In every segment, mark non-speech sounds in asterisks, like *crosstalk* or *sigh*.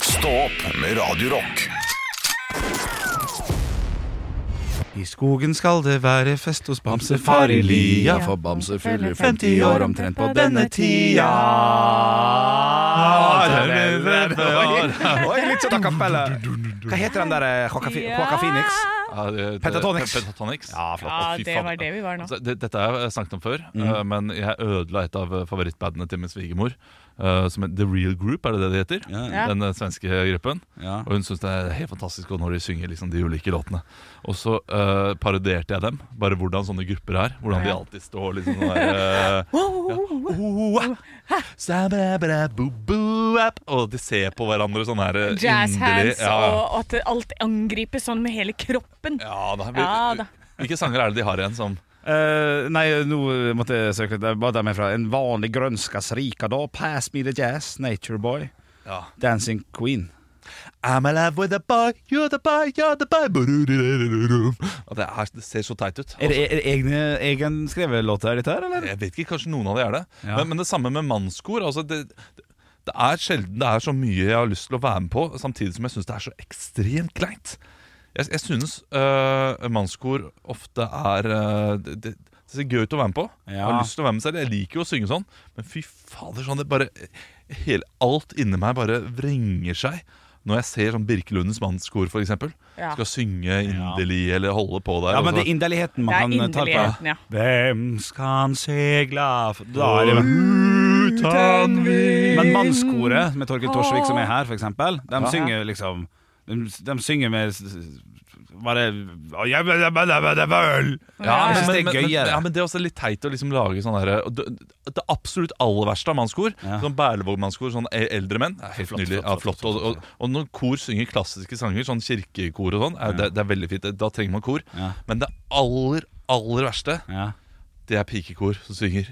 Stå opp med Radio Rock. I skogen skal det være fest hos Bamsefar i lia, for Bamse fyller 50 år omtrent på denne tida. Ah, Oi, litt sånn a cappella. Hva heter den der eh, Joaquin Joaquin Phoenix? Ja, det- det- Pentatonics. Pentatonics. Ja, flott. Å, Ja, fy det faen. var det vi var nå. Altså, det- Dette har jeg snakket om før, eh, men jeg ødela et av eh, favorittbandene til min svigermor. eh, som het The Real Group, er det det det heter? Ja. Ja. Den eh, svenske gruppen. Ja. Og hun syns det er helt fantastisk når de synger liksom, de ulike låtene. Og så eh, parodierte jeg dem, bare hvordan sånne grupper er. Hvordan de alltid står liksom sånn der eh, ja. Sa-ba-ba-bo-bo-ap. Og de ser på hverandre sånn her eh, Jazz inderlig. hands Ja. og at alt angripes sånn med hele kroppen. Ja, da, vi, Ja, da. Hvilke sanger er det de har igjen som Eh, nei, nå måtte jeg søke litt. Det er Bare dem herfra. En vanlig grønskas rika da. Pass me the jazz. Nature boy. ja. Dancing queen. I'm alive with a boy, you're the boy, you're the boy Burururururu. Og det, er, det ser så teit ut. e- Er det, er det egne, egen skrevet låter, dette her, eller? Jeg vet ikke, kanskje noen av de er det. Ja. Men, men det samme med mannskor. Altså det, det, det er sjelden det er så mye jeg har lyst til å være med på, samtidig som jeg syns det er så ekstremt kleint. Jeg, jeg synes øh, mannskor ofte er øh, det, det, det ser gøy ut å være med på. Jeg har Ja. lyst til å være med selv. Jeg liker jo å synge sånn, men fy fader, sånn det bare hele, Alt inni meg bare vrenger seg. Når jeg ser sånn Birkelundens mannskor, f.eks. eksempel Ja. Skal synge inderlig eller holde på der. Ja, og men så- det er inderligheten Det er man kan ta på. inderligheten, ja. Hvem skal segla for- Da er det Uten vind Men mannskoret med Torkild Torsvik som er her, for eksempel, de synger liksom De, de synger med s- s- bare «Jeg vil- jeg vil- jeg vil- jeg vil». Jeg synes det Ja, men, er men, men, gøyere. ja, men det er også litt teit å liksom lage sånn derre og Det det absolutt aller verste av mannskor, Ja. sånn Berlevåg-mannskor, sånn e- eldre menn, er helt Flott, nydelig. flott, Ja, flott, flott. Og, og, og når kor synger klassiske sanger, sånn kirkekor og sånn, er, det, det er veldig fint. Da trenger man kor. Ja. Men det aller, aller verste, Ja. det er pikekor som synger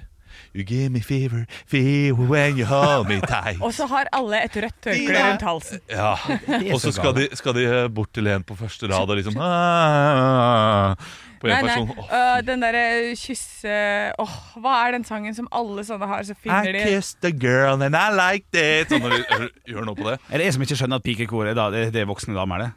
You give me fever, fever when you hold me tight. Og så har alle et rødt tørkle rundt halsen. Ja, Og så så skal, de- skal de eh, bort til en på første rad og liksom ah, ah, ah, På Nei, en nei, person. Åh, øh, den derre kysse... Åh, hva er den sangen som alle sånne har, så finner I de kissed a girl and I liked it Sånn når du gjør noe på det Er det jeg som ikke skjønner at pikekor er da, det, det er voksne damer, det?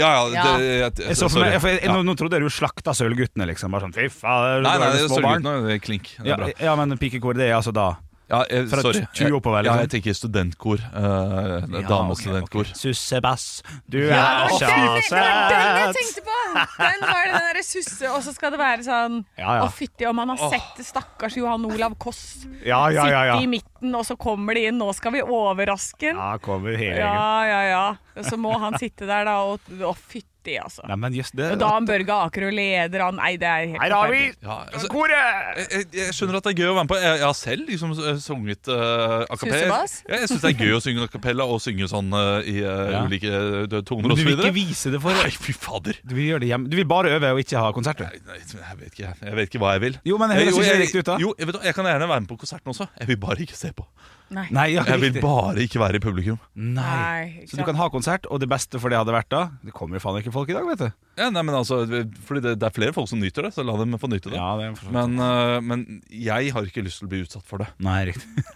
Ja, ja, det, Ja. jeg, jeg, Jeg så for meg, for jeg, nå, nå trodde jeg du slakta sølvguttene, liksom. Bare sånn fy faen, Nei, nei, det det er er små barn. sølvguttene, det er klink Det er Ja, bra ja, men pikekor, det er altså da ja, jeg, Fra sorry. 20 oppover, Ja, liksom. jeg tenker studentkor eh, Damestudenttkor Sussebass, du Ja, er det var så den- det var den jeg søt! tenkte på! Den var det den derre susse, og så skal det være sånn Ja, ja. Å, fytti om han har sett stakkars Johan Olav Koss Ja, ja, ja, ja. sitte i midten, og så kommer de inn, nå skal vi overraske han. Ja, kommer hele gjengen. Ja, ja, ja. Og så må han sitte der, da, og å, fytti, altså. Nei, men just det Og da han Børge Akerø leder han Nei, det er helt Her har vi forferdelig. ja, altså, koret! jeg, jeg- jeg skjønner at det er gøy å være med på Jeg, jeg har selv liksom eh, sunget uh, acapella Sussebass? ja, Jeg synes det er gøy å synge acapella Og synge sånn eh, i eh, Ja. ulike eh, toner Men og du så vil ikke videre vise det for Nei, fy fader Du vil gjøre det hjemme Du vil bare øve og ikke ha konsert du. Nei, nei, jeg vet ikke, jeg vet ikke hva jeg vil Jo, men det høres Jo, ikke jeg- riktig ut da. Jo, jeg, vet, hva, jeg kan gjerne være med på konserten også Jeg vil bare ikke se på Nei. Nei, ja, Jeg vil riktig. bare ikke være i publikum. Nei Nei, ikke Så du sant. kan ha konsert Og det beste for det hadde vært da Det kommer jo faen ikke folk i dag, vet du Ja, nei, men altså, fordi det, det er flere folk som nyter det, så la dem få nyte det det. er for... Men, øh, men jeg har ikke lyst til å bli utsatt for det. Nei, riktig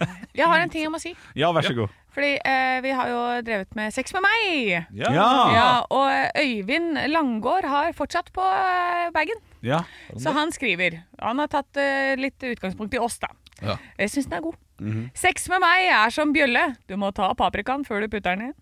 Jeg har en ting jeg må si. *laughs* Ja, vær så god Fordi eh, vi har jo drevet med Sex med meg. Ja, Ja, Og Øyvind Langgård har fortsatt på eh, bagen. Ja, Så han skriver Han har tatt eh, litt utgangspunkt i oss, da. Ja. Jeg syns den er god. Mhm. Sex med meg er som bjølle. Du må ta paprikaen før du putter den inn.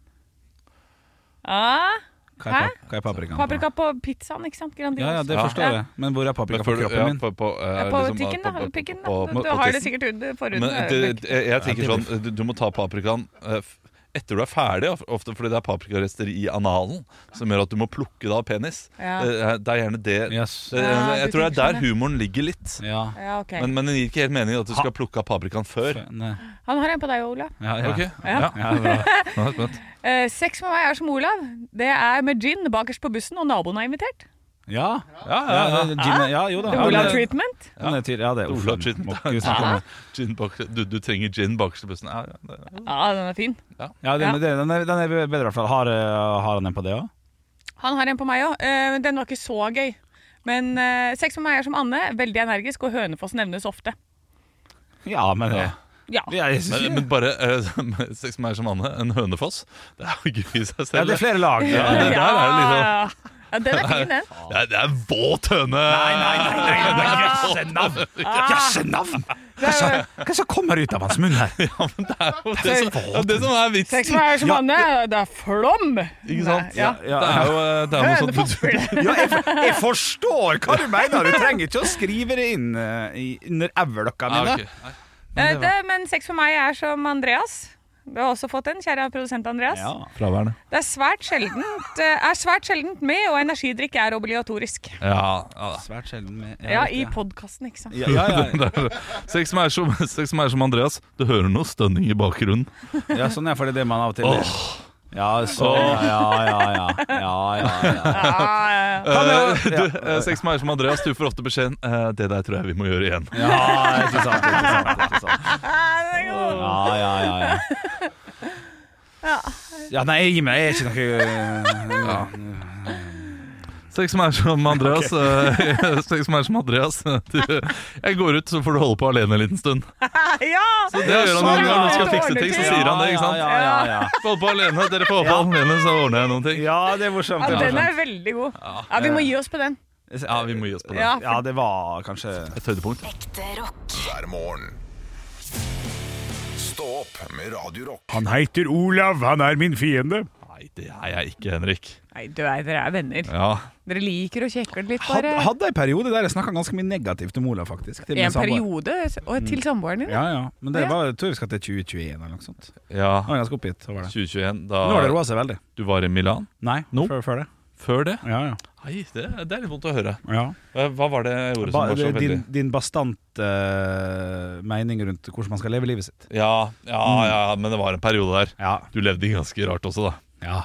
Ah, hva er, Hæ? pap hva er paprikaen? paprika på pizzaen, ikke sant? Grandiosa. Ja, ja, det Ja. forstår jeg Men hvor er Men paprika på for- ja, kroppen min? på- på, øh, Ja, på liksom, tikken, da. på- på- pikken, da. på- eh, Du, på du har det tissen. sikkert under forhuden. eh, Men det, jeg, jeg tenker sånn, du, du må ta paprikaen øh, f- etter du er ferdig, of- ofte fordi det er paprikarester i analen, som gjør at du må plukke det av penis. Ja. Eh, Det er gjerne det Yes. det- Ja, eh, Jeg du tror det er tenker der sånn, humoren ligger litt. Ja. Ja, ok. Men, men det gir ikke helt mening at du skal plukke av paprikaen før. Nei. Han har en på deg, Olav. Ja, ja. Ok, ja. Ja, bra. Nå er jeg spent. Eh, sex med meg er som Olav. Det er med gin bakerst på bussen, og naboen er invitert. ja. ja, ja, det- Gin- ja, jo da. Det er Ja, Olav eh, det- treatment. Ja, det er tydelig. Ja, det er Olav Olav Treatment. *laughs* treatment. Gin bak, du, du trenger gin bakerst i bussen. Ja, ja, det- Ja, den er fin. Ja, den, den, er, den er bedre i hvert fall. Har, eh, har han en på det òg? Han har en på meg òg. den var ikke så gøy. Men eh, sex med meg er som Anne. Veldig energisk, og Hønefoss nevnes ofte. Ja, men det Ja. ja, jeg synes, Men, men bare eh, *laughs* sex med meg som Anne, en hønefoss. Det er jo gøy i seg ja, *laughs* selv. det er flere lag. Ja, det, der er det liksom Ja, Ja, den er *laughs* fin, den. Det er, det er en våt høne! Nei, nei, nei, Jøssenavn! Jøssenavn! Det er, jo- Hva som kommer ut av hans munn her? Det, som, ja, det som er sex vitsen, med meg er som Anne, det er flom! ikke sant? Nei, ja. Ja, Det er jo eh, det er noe sånt Hønefoss blir det. jeg, jeg forstår hva du mener! Du trenger ikke å skrive det inn eh, i- under øvelokka Ja, mine. ok. Eh, det, men sex med meg er som Andreas. Du har også fått den, kjære produsent Andreas. Ja. Fraværende. Det er svært sjeldent, eh, er svært sjeldent med, og energidrikk er obligatorisk. Ja, ja da. Svært sjelden med Ja, i podkasten, ikke sant. ja, ja, ja. *laughs* Det er- Sex som er som, sex som, er som Andreas. Du hører noe stønning i bakgrunnen. ja, sånn er for det det man av og til Åh, Ja, så, ja, ja, ja, ja, ja, ja. Ja, Ah, ja, *laughs* eh, ja. du, eh, sex som er som Andreas, du får ofte beskjeden eh, 'Det der tror jeg vi må gjøre *laughs* igjen'. Ja, ikke sant, ikke sant, ikke sant. *laughs* Ah, det er godt. Ja, ja, ja, ja. Ja. Ja, nei, jeg gir meg. Jeg er ikke noe eh, Sex som er som Andreas. eh, *laughs* sex som er som Andreas. eh, Du, jeg går ut, så får du holde på alene en liten stund. Ja! Det gjør han når han skal fikse ting, så sier han det, ikke sant? Ja, ja, ja, ja. Få holde på alene, dere får holde på alene, så ordner jeg noen ting. ja det er morsomt. det Ja, er den morsomt. er veldig god. Ja, Vi må gi oss på den. Ja, vi må gi oss på det. Ja, Ja, det var kanskje Et høydepunkt. hver morgen. Stå opp med Radio Rock. Han heter Olav, han er min fiende. Nei, det er jeg ikke, Henrik. Nei, du er, dere er venner. Ja. Dere liker å kjekke litt, Hadde, bare. hadde en periode der jeg snakka ganske mye negativt om Olav, faktisk. Til min En samboer. periode og til samboeren din. Mm. Ja, ja. Men det Ja. var, jeg tror vi skal til 2021 eller noe sånt. ja. Han var ganske oppgitt over det. 2021, Nå har det da roa seg veldig. du var i Milan. Nei, Nå? Før, før det. Før det? Ja, ja. Nei, det, det er litt vondt å høre. ja. Eh, Hva var det jeg Ba, gjorde som var så det- veldig din, din bastant eh, mening rundt hvordan man skal leve livet sitt. Ja, ja, Mm. ja, men det var en periode der. Ja. Du levde ganske rart også, da. ja.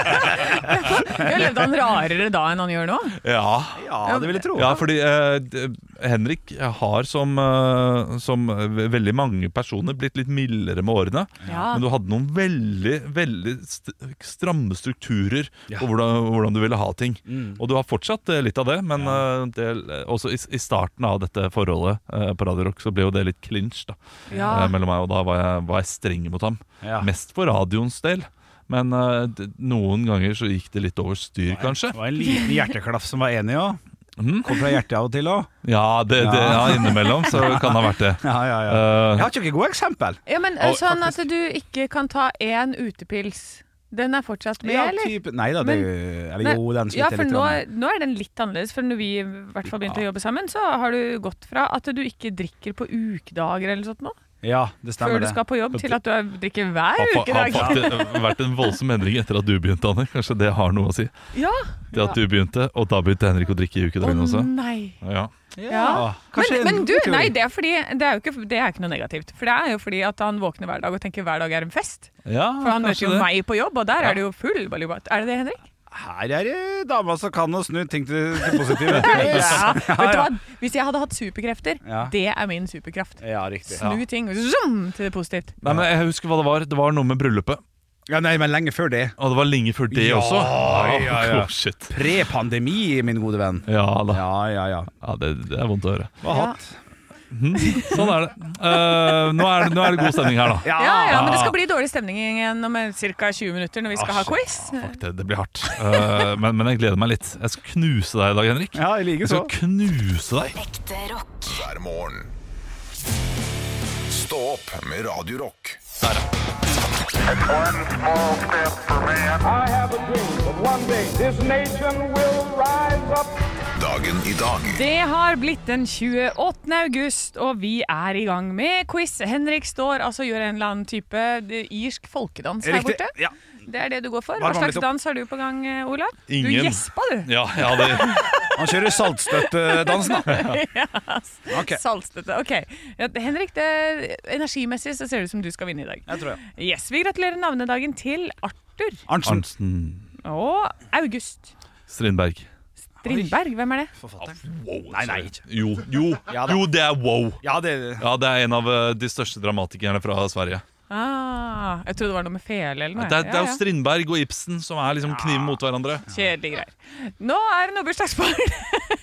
Ja, Levde han rarere da enn han gjør nå? Ja, det vil jeg tro. ja fordi eh, d- Henrik har, som, eh, som ve- veldig mange personer, blitt litt mildere med årene. Ja. Men du hadde noen veldig, veldig st stramme strukturer Ja. på hvordan, hvordan du ville ha ting. Mm. Og du har fortsatt eh, litt av det, men eh, det, også i, i starten av dette forholdet eh, på Radio Rock så ble jo det litt clinch da, Ja. eh, mellom meg, og da var jeg, var jeg streng mot ham. Ja. Mest for radioens del, men eh, d- noen ganger så gikk det litt over styr, kanskje. Det var en liten hjerteklaff som var enig òg. Mhm. Kom fra hjertet av og til òg. Ja, det, det, ja, innimellom så kan det ha vært det. Ja, ja, ja. Eh, Jeg har ikke noe godt eksempel. Ja, men Ja, Sånn at du ikke kan ta én utepils. Den er fortsatt med, Ja, eller? typ, nei da, det er jo Eller jo, den ja, sliter for litt. nå, grann. nå er den litt annerledes. For når vi i hvert fall begynte å jobbe sammen, så har du gått fra at du ikke drikker på ukedager eller sånt nå, Ja, det før stemmer du det. skal på jobb, til at du er- drikker hver har, fa- har ukedag. faktisk vært en voldsom endring etter at du begynte, Anne. Kanskje det har noe å si. Ja. Det at du begynte, og da begynte Henrik å drikke i Å ukedagen Mm. også. nei. Ja. Ja. Men, Kanskje en men du, teori. nei, det er, fordi, det, er jo ikke, det er ikke noe negativt. For det er jo fordi at han våkner hver dag og tenker hver dag er en fest. Ja, For han møter jo det. meg på jobb, og der er det jo full balubat. Er det det, Henrik? Her er det dama som kan å snu ting til, til positive. *laughs* Ja. Vet du hva? Hvis jeg hadde hatt superkrefter, Ja. det er min superkraft. Ja, riktig. Snu ting zoom, til det positivt. Nei, men jeg husker hva det var. Det var noe med bryllupet. Ja, nei, men lenge før det. Og det var lenge før det Ja, også. ja, ja. oh, shit. Pre-pandemi, min gode venn. Ja da. Ja, ja, ja. Ja, det, det er vondt å høre. Hva Ja. hatt? Sånn er det. Eh, nå, er det nå er det god stemning her, da. Ja, ja, Ah. men det skal bli dårlig stemning igjen om ca. 20 minutter når vi skal ha quiz. Fuck, det, det blir hardt. Eh, men, men jeg gleder meg litt. Jeg skal knuse deg i dag, Henrik. Ja, i like Jeg så. skal knuse deg. hver morgen. Stå opp med Radio Rock. I have a dream that one day this nation will rise up Dagen i dag. Det har blitt den 28. august, og vi er i gang med quiz. Henrik står altså gjør en eller annen type eh, irsk folkedans her borte. Ja. Det er det du går for. Bare Hva vanlig slags topp. dans har du på gang, eh, Olav? Du Ingen. gjespa, du. Ja, ja, det, Han kjører *laughs* saltstøttedansen, da. *laughs* Ok. Saltstøtte. Ok. Ja, Henrik, det, energimessig så ser det ut som du skal vinne i dag. Jeg tror jeg. Yes, Vi gratulerer navnedagen til Arthur Arntzen. og August. Strindberg. Strindberg, hvem er det? Nei, nei. Jo, jo, Ja da. jo, det er wow. Ja, det Ja, Det er en av eh, de største dramatikerne fra Sverige. Ah, jeg trodde det var noe med fele eller noe. Det er, det er Ja, jo ja. Strindberg og Ibsen som er liksom kniven mot hverandre. Kjedelige greier. Nå er det noe bursdagsbarn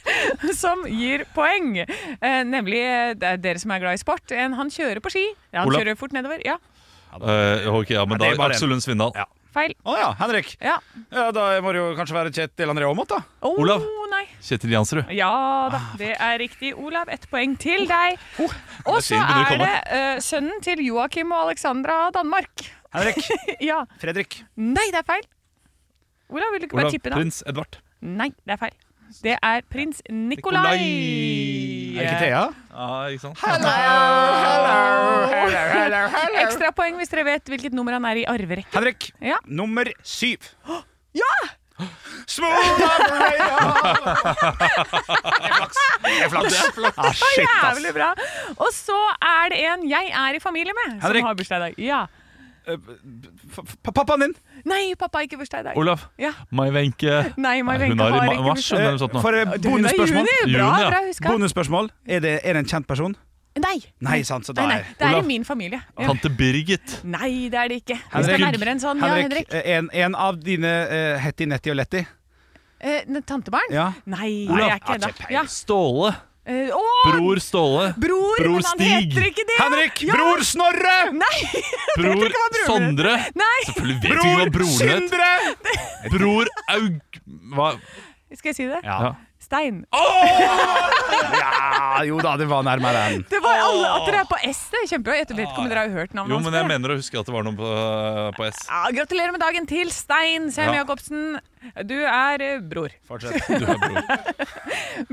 *laughs* som gir poeng. Eh, nemlig eh, det er dere som er glad i sport. En, han kjører på ski. Ja, han Olav. kjører fort nedover. Ja, Eh, ok, ja, men Ja, det da er bare en. Aksel Lund Svindal. Ja. feil. Å ja, Henrik. Ja. Ja, da må det jo kanskje være Kjetil André Aamodt, da. Å, Olav. Ah, Nei. Kjetil Jansrud. Ja da, det er riktig. Olav, ett poeng til deg. Oh, Og så skien begynner å er komme. det eh, sønnen til Joakim og Alexandra av Danmark. *laughs* Henrik. Ja. Fredrik. Nei, det er feil. Olav, vil du ikke bare Olav tippe da? Prins Edvard. Nei, det er feil. Det er prins Nikolai. Er det ikke Thea? Ja, ikke sant? Ekstrapoeng hvis dere vet hvilket nummer han er i arverekken. Henrik. Ja. Nummer syv. *gasps* Ja! Smooth *laughs* operator! Det er flaks. Det er flaks. Ah, shit, ass. Jævlig bra. Og så er det en jeg er i familie med, Henrik. som har bursdag i dag. Ja. F- f- Pappaen din. Nei, pappa har ikke bursdag i dag. Olav. Ja. Mai Wenche. Nei, Mai Wenche Hun har har i ikke ma- mars. Eh, hun bursdag. eller noe sånt nå. For eh, Hun er i bonusspørsmål. juni. Bra, Juni, ja. bra huska. Bonusspørsmål. Er det, er det en kjent person? Nei. Nei, sant, så da Nei, er- nei. Det er Olav. i min familie. Ja. Tante Birgit. Nei, det er det ikke. Hvis det er Henrik. nærmere enn sånn. Ja, Henrik. eh, En, en av dine eh, Hetty, Netty og Letty. Eh, ne- tantebarn? Ja. Nei, jeg er ikke det. Ja. Ståle. Eh, å, Bror Ståle. bror, Bror men han Stig. heter ikke det! Henrik! Bror Snorre! Nei! *laughs* Bror ikke hva broren Sondre. Nei! Selvfølgelig vet ikke hva Bror broren het. Sindre! Bror Aug... Hva? Skal jeg si det? Ja. Stein. ja, jo da, det var nærmere enn Det var alle at dere er på S. det er Kjempebra. Jeg vet ikke om dere har hørt navnet Ah, Jo, men jeg før. mener å huske at det var noe på, eh, på S. ja, gratulerer med dagen til Stein Sem Ja. Jacobsen. Du er eh, bror. *laughs* Fortsett. Du er bror.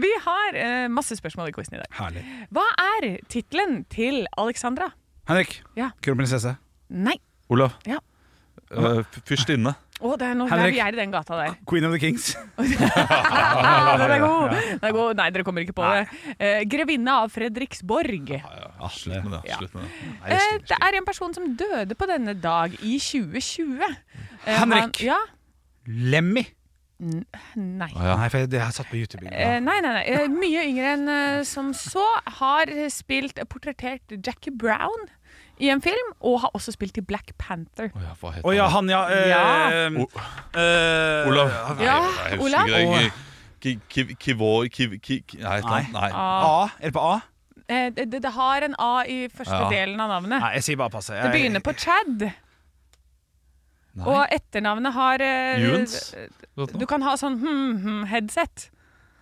Vi har eh, masse spørsmål i quizen i dag. Herlig. Hva er tittelen til Alexandra? Henrik. Ja. Kronprinsesse. Nei. Olav. Ja. Eh, f- Fyrstinne. Å, det er noe der Henrik. vi er i den gata der. Queen of the *laughs* Kings. Ah, den er god. Den er god. Nei, dere kommer ikke på det. Eh, Grevinne av Fredriksborg. Ja, slutt med det. Slutt med det. Eh, det er en person som døde på denne dag i 2020. Eh, Henrik. Han, ja? Lemmy. Nei. Ja. Nei, for jeg- det har jeg satt på YouTube. Eh, nei, nei, nei. Eh, mye yngre enn eh, som så. Har spilt portrettert Jackie Brown i en film, og har også spilt i Black Panther. Å ja, hva heter Å ja, han, han? ja. eh, Ja. eh, eh, Olav. Ja, Jeg husker Olav? ikke det. Ki- ki- Kivå Kiv... ki- ki- Nei, et eller annet. Nei. Ah. A. Er det på A? Eh, det, det, det har en A i første Ja. delen av navnet. Nei, jeg sier bare passe. Det begynner på Chad. Og etternavnet har eh, Juens? Du kan ha sånn hm-hm-headset.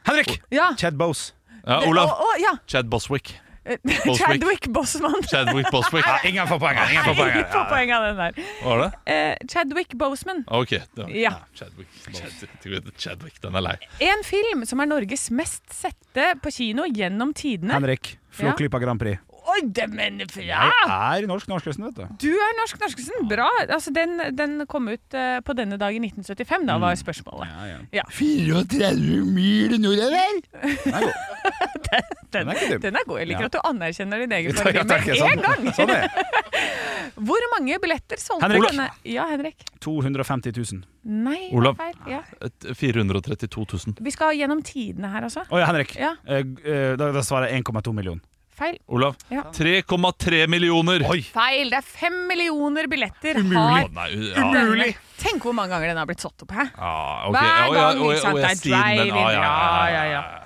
Henrik! Ja. Chad Bose. Ja, Det- Olav. Å, å, ja. Chad Boswick. Chadwick Bosman. Chadwick Boswick. Hva Ingen får poenget. Ingen får Nei, *laughs* poenget. på poeng av den der. var det? Eh, Chadwick Boseman. Ah, Ok. det var- Ja. Chadwick. Chad- Chadwick, den er lei. En film som er Norges mest sette på kino gjennom tidene. Henrik. Flåklypa Grand Prix. Oi, dæven fra! Jeg er norsk-norskkristen, vet du. Du er norsk norskesen. Bra. Altså, den, den kom ut eh, på denne dag i 1975, da Mm. var spørsmålet. Ja. 34 mil nordover! *laughs* Den, Den er ikke dum. den er god. Jeg liker Ja. at du anerkjenner din egen Takk, farge takk, med jeg en sånn. gang. Sånn er det. Hvor mange billetter solgte Henrik. denne Ja, Henrik. 250 000. Nei, det er Olav. feil. Ja. Et- 432 000. Vi skal gjennom tidene her, altså. Å ja, Henrik. Ja. Eh, g- eh, da, da svarer jeg 1,2 million. Feil. Olav. Ja. 3,3 millioner! Oi! Feil. Det er fem millioner billetter Å, har nei, ja. denne- Tenk hvor mange ganger den har blitt satt opp her. Ja, Ah, ok. Hver Ja, ja, gang, og- ikke sant, og jeg det er sier den, men- ah, drive-in. ja, ja, ja, ja, ja.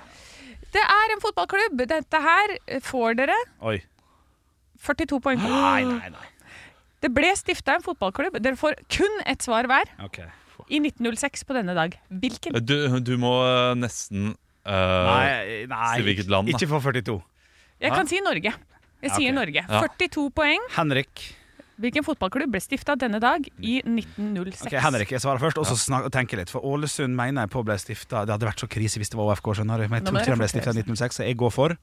Det er en fotballklubb. Dette her eh, får dere Oi. 42 poeng. på. nei, nei. Det ble stifta en fotballklubb. Dere får kun ett svar hver Ok. Eh, i 1906 på denne dag. Hvilken? Du, du må eh, nesten eh, Nei, nei. Si hvilket land, da. Ikke for 42. Jeg kan si Norge. Jeg ok. sier Norge. Ja. 42 poeng. Henrik. Hvilken fotballklubb ble stifta denne dag i 1906? Ok, Henrik, jeg svarer først, og så snak- tenker jeg litt. For Ålesund mener jeg på ble stifta Det hadde vært så krise hvis det var OFK, skjønner du. Men jeg Nå tror må ikke dere den ble fortere stifta i 1906, så jeg går for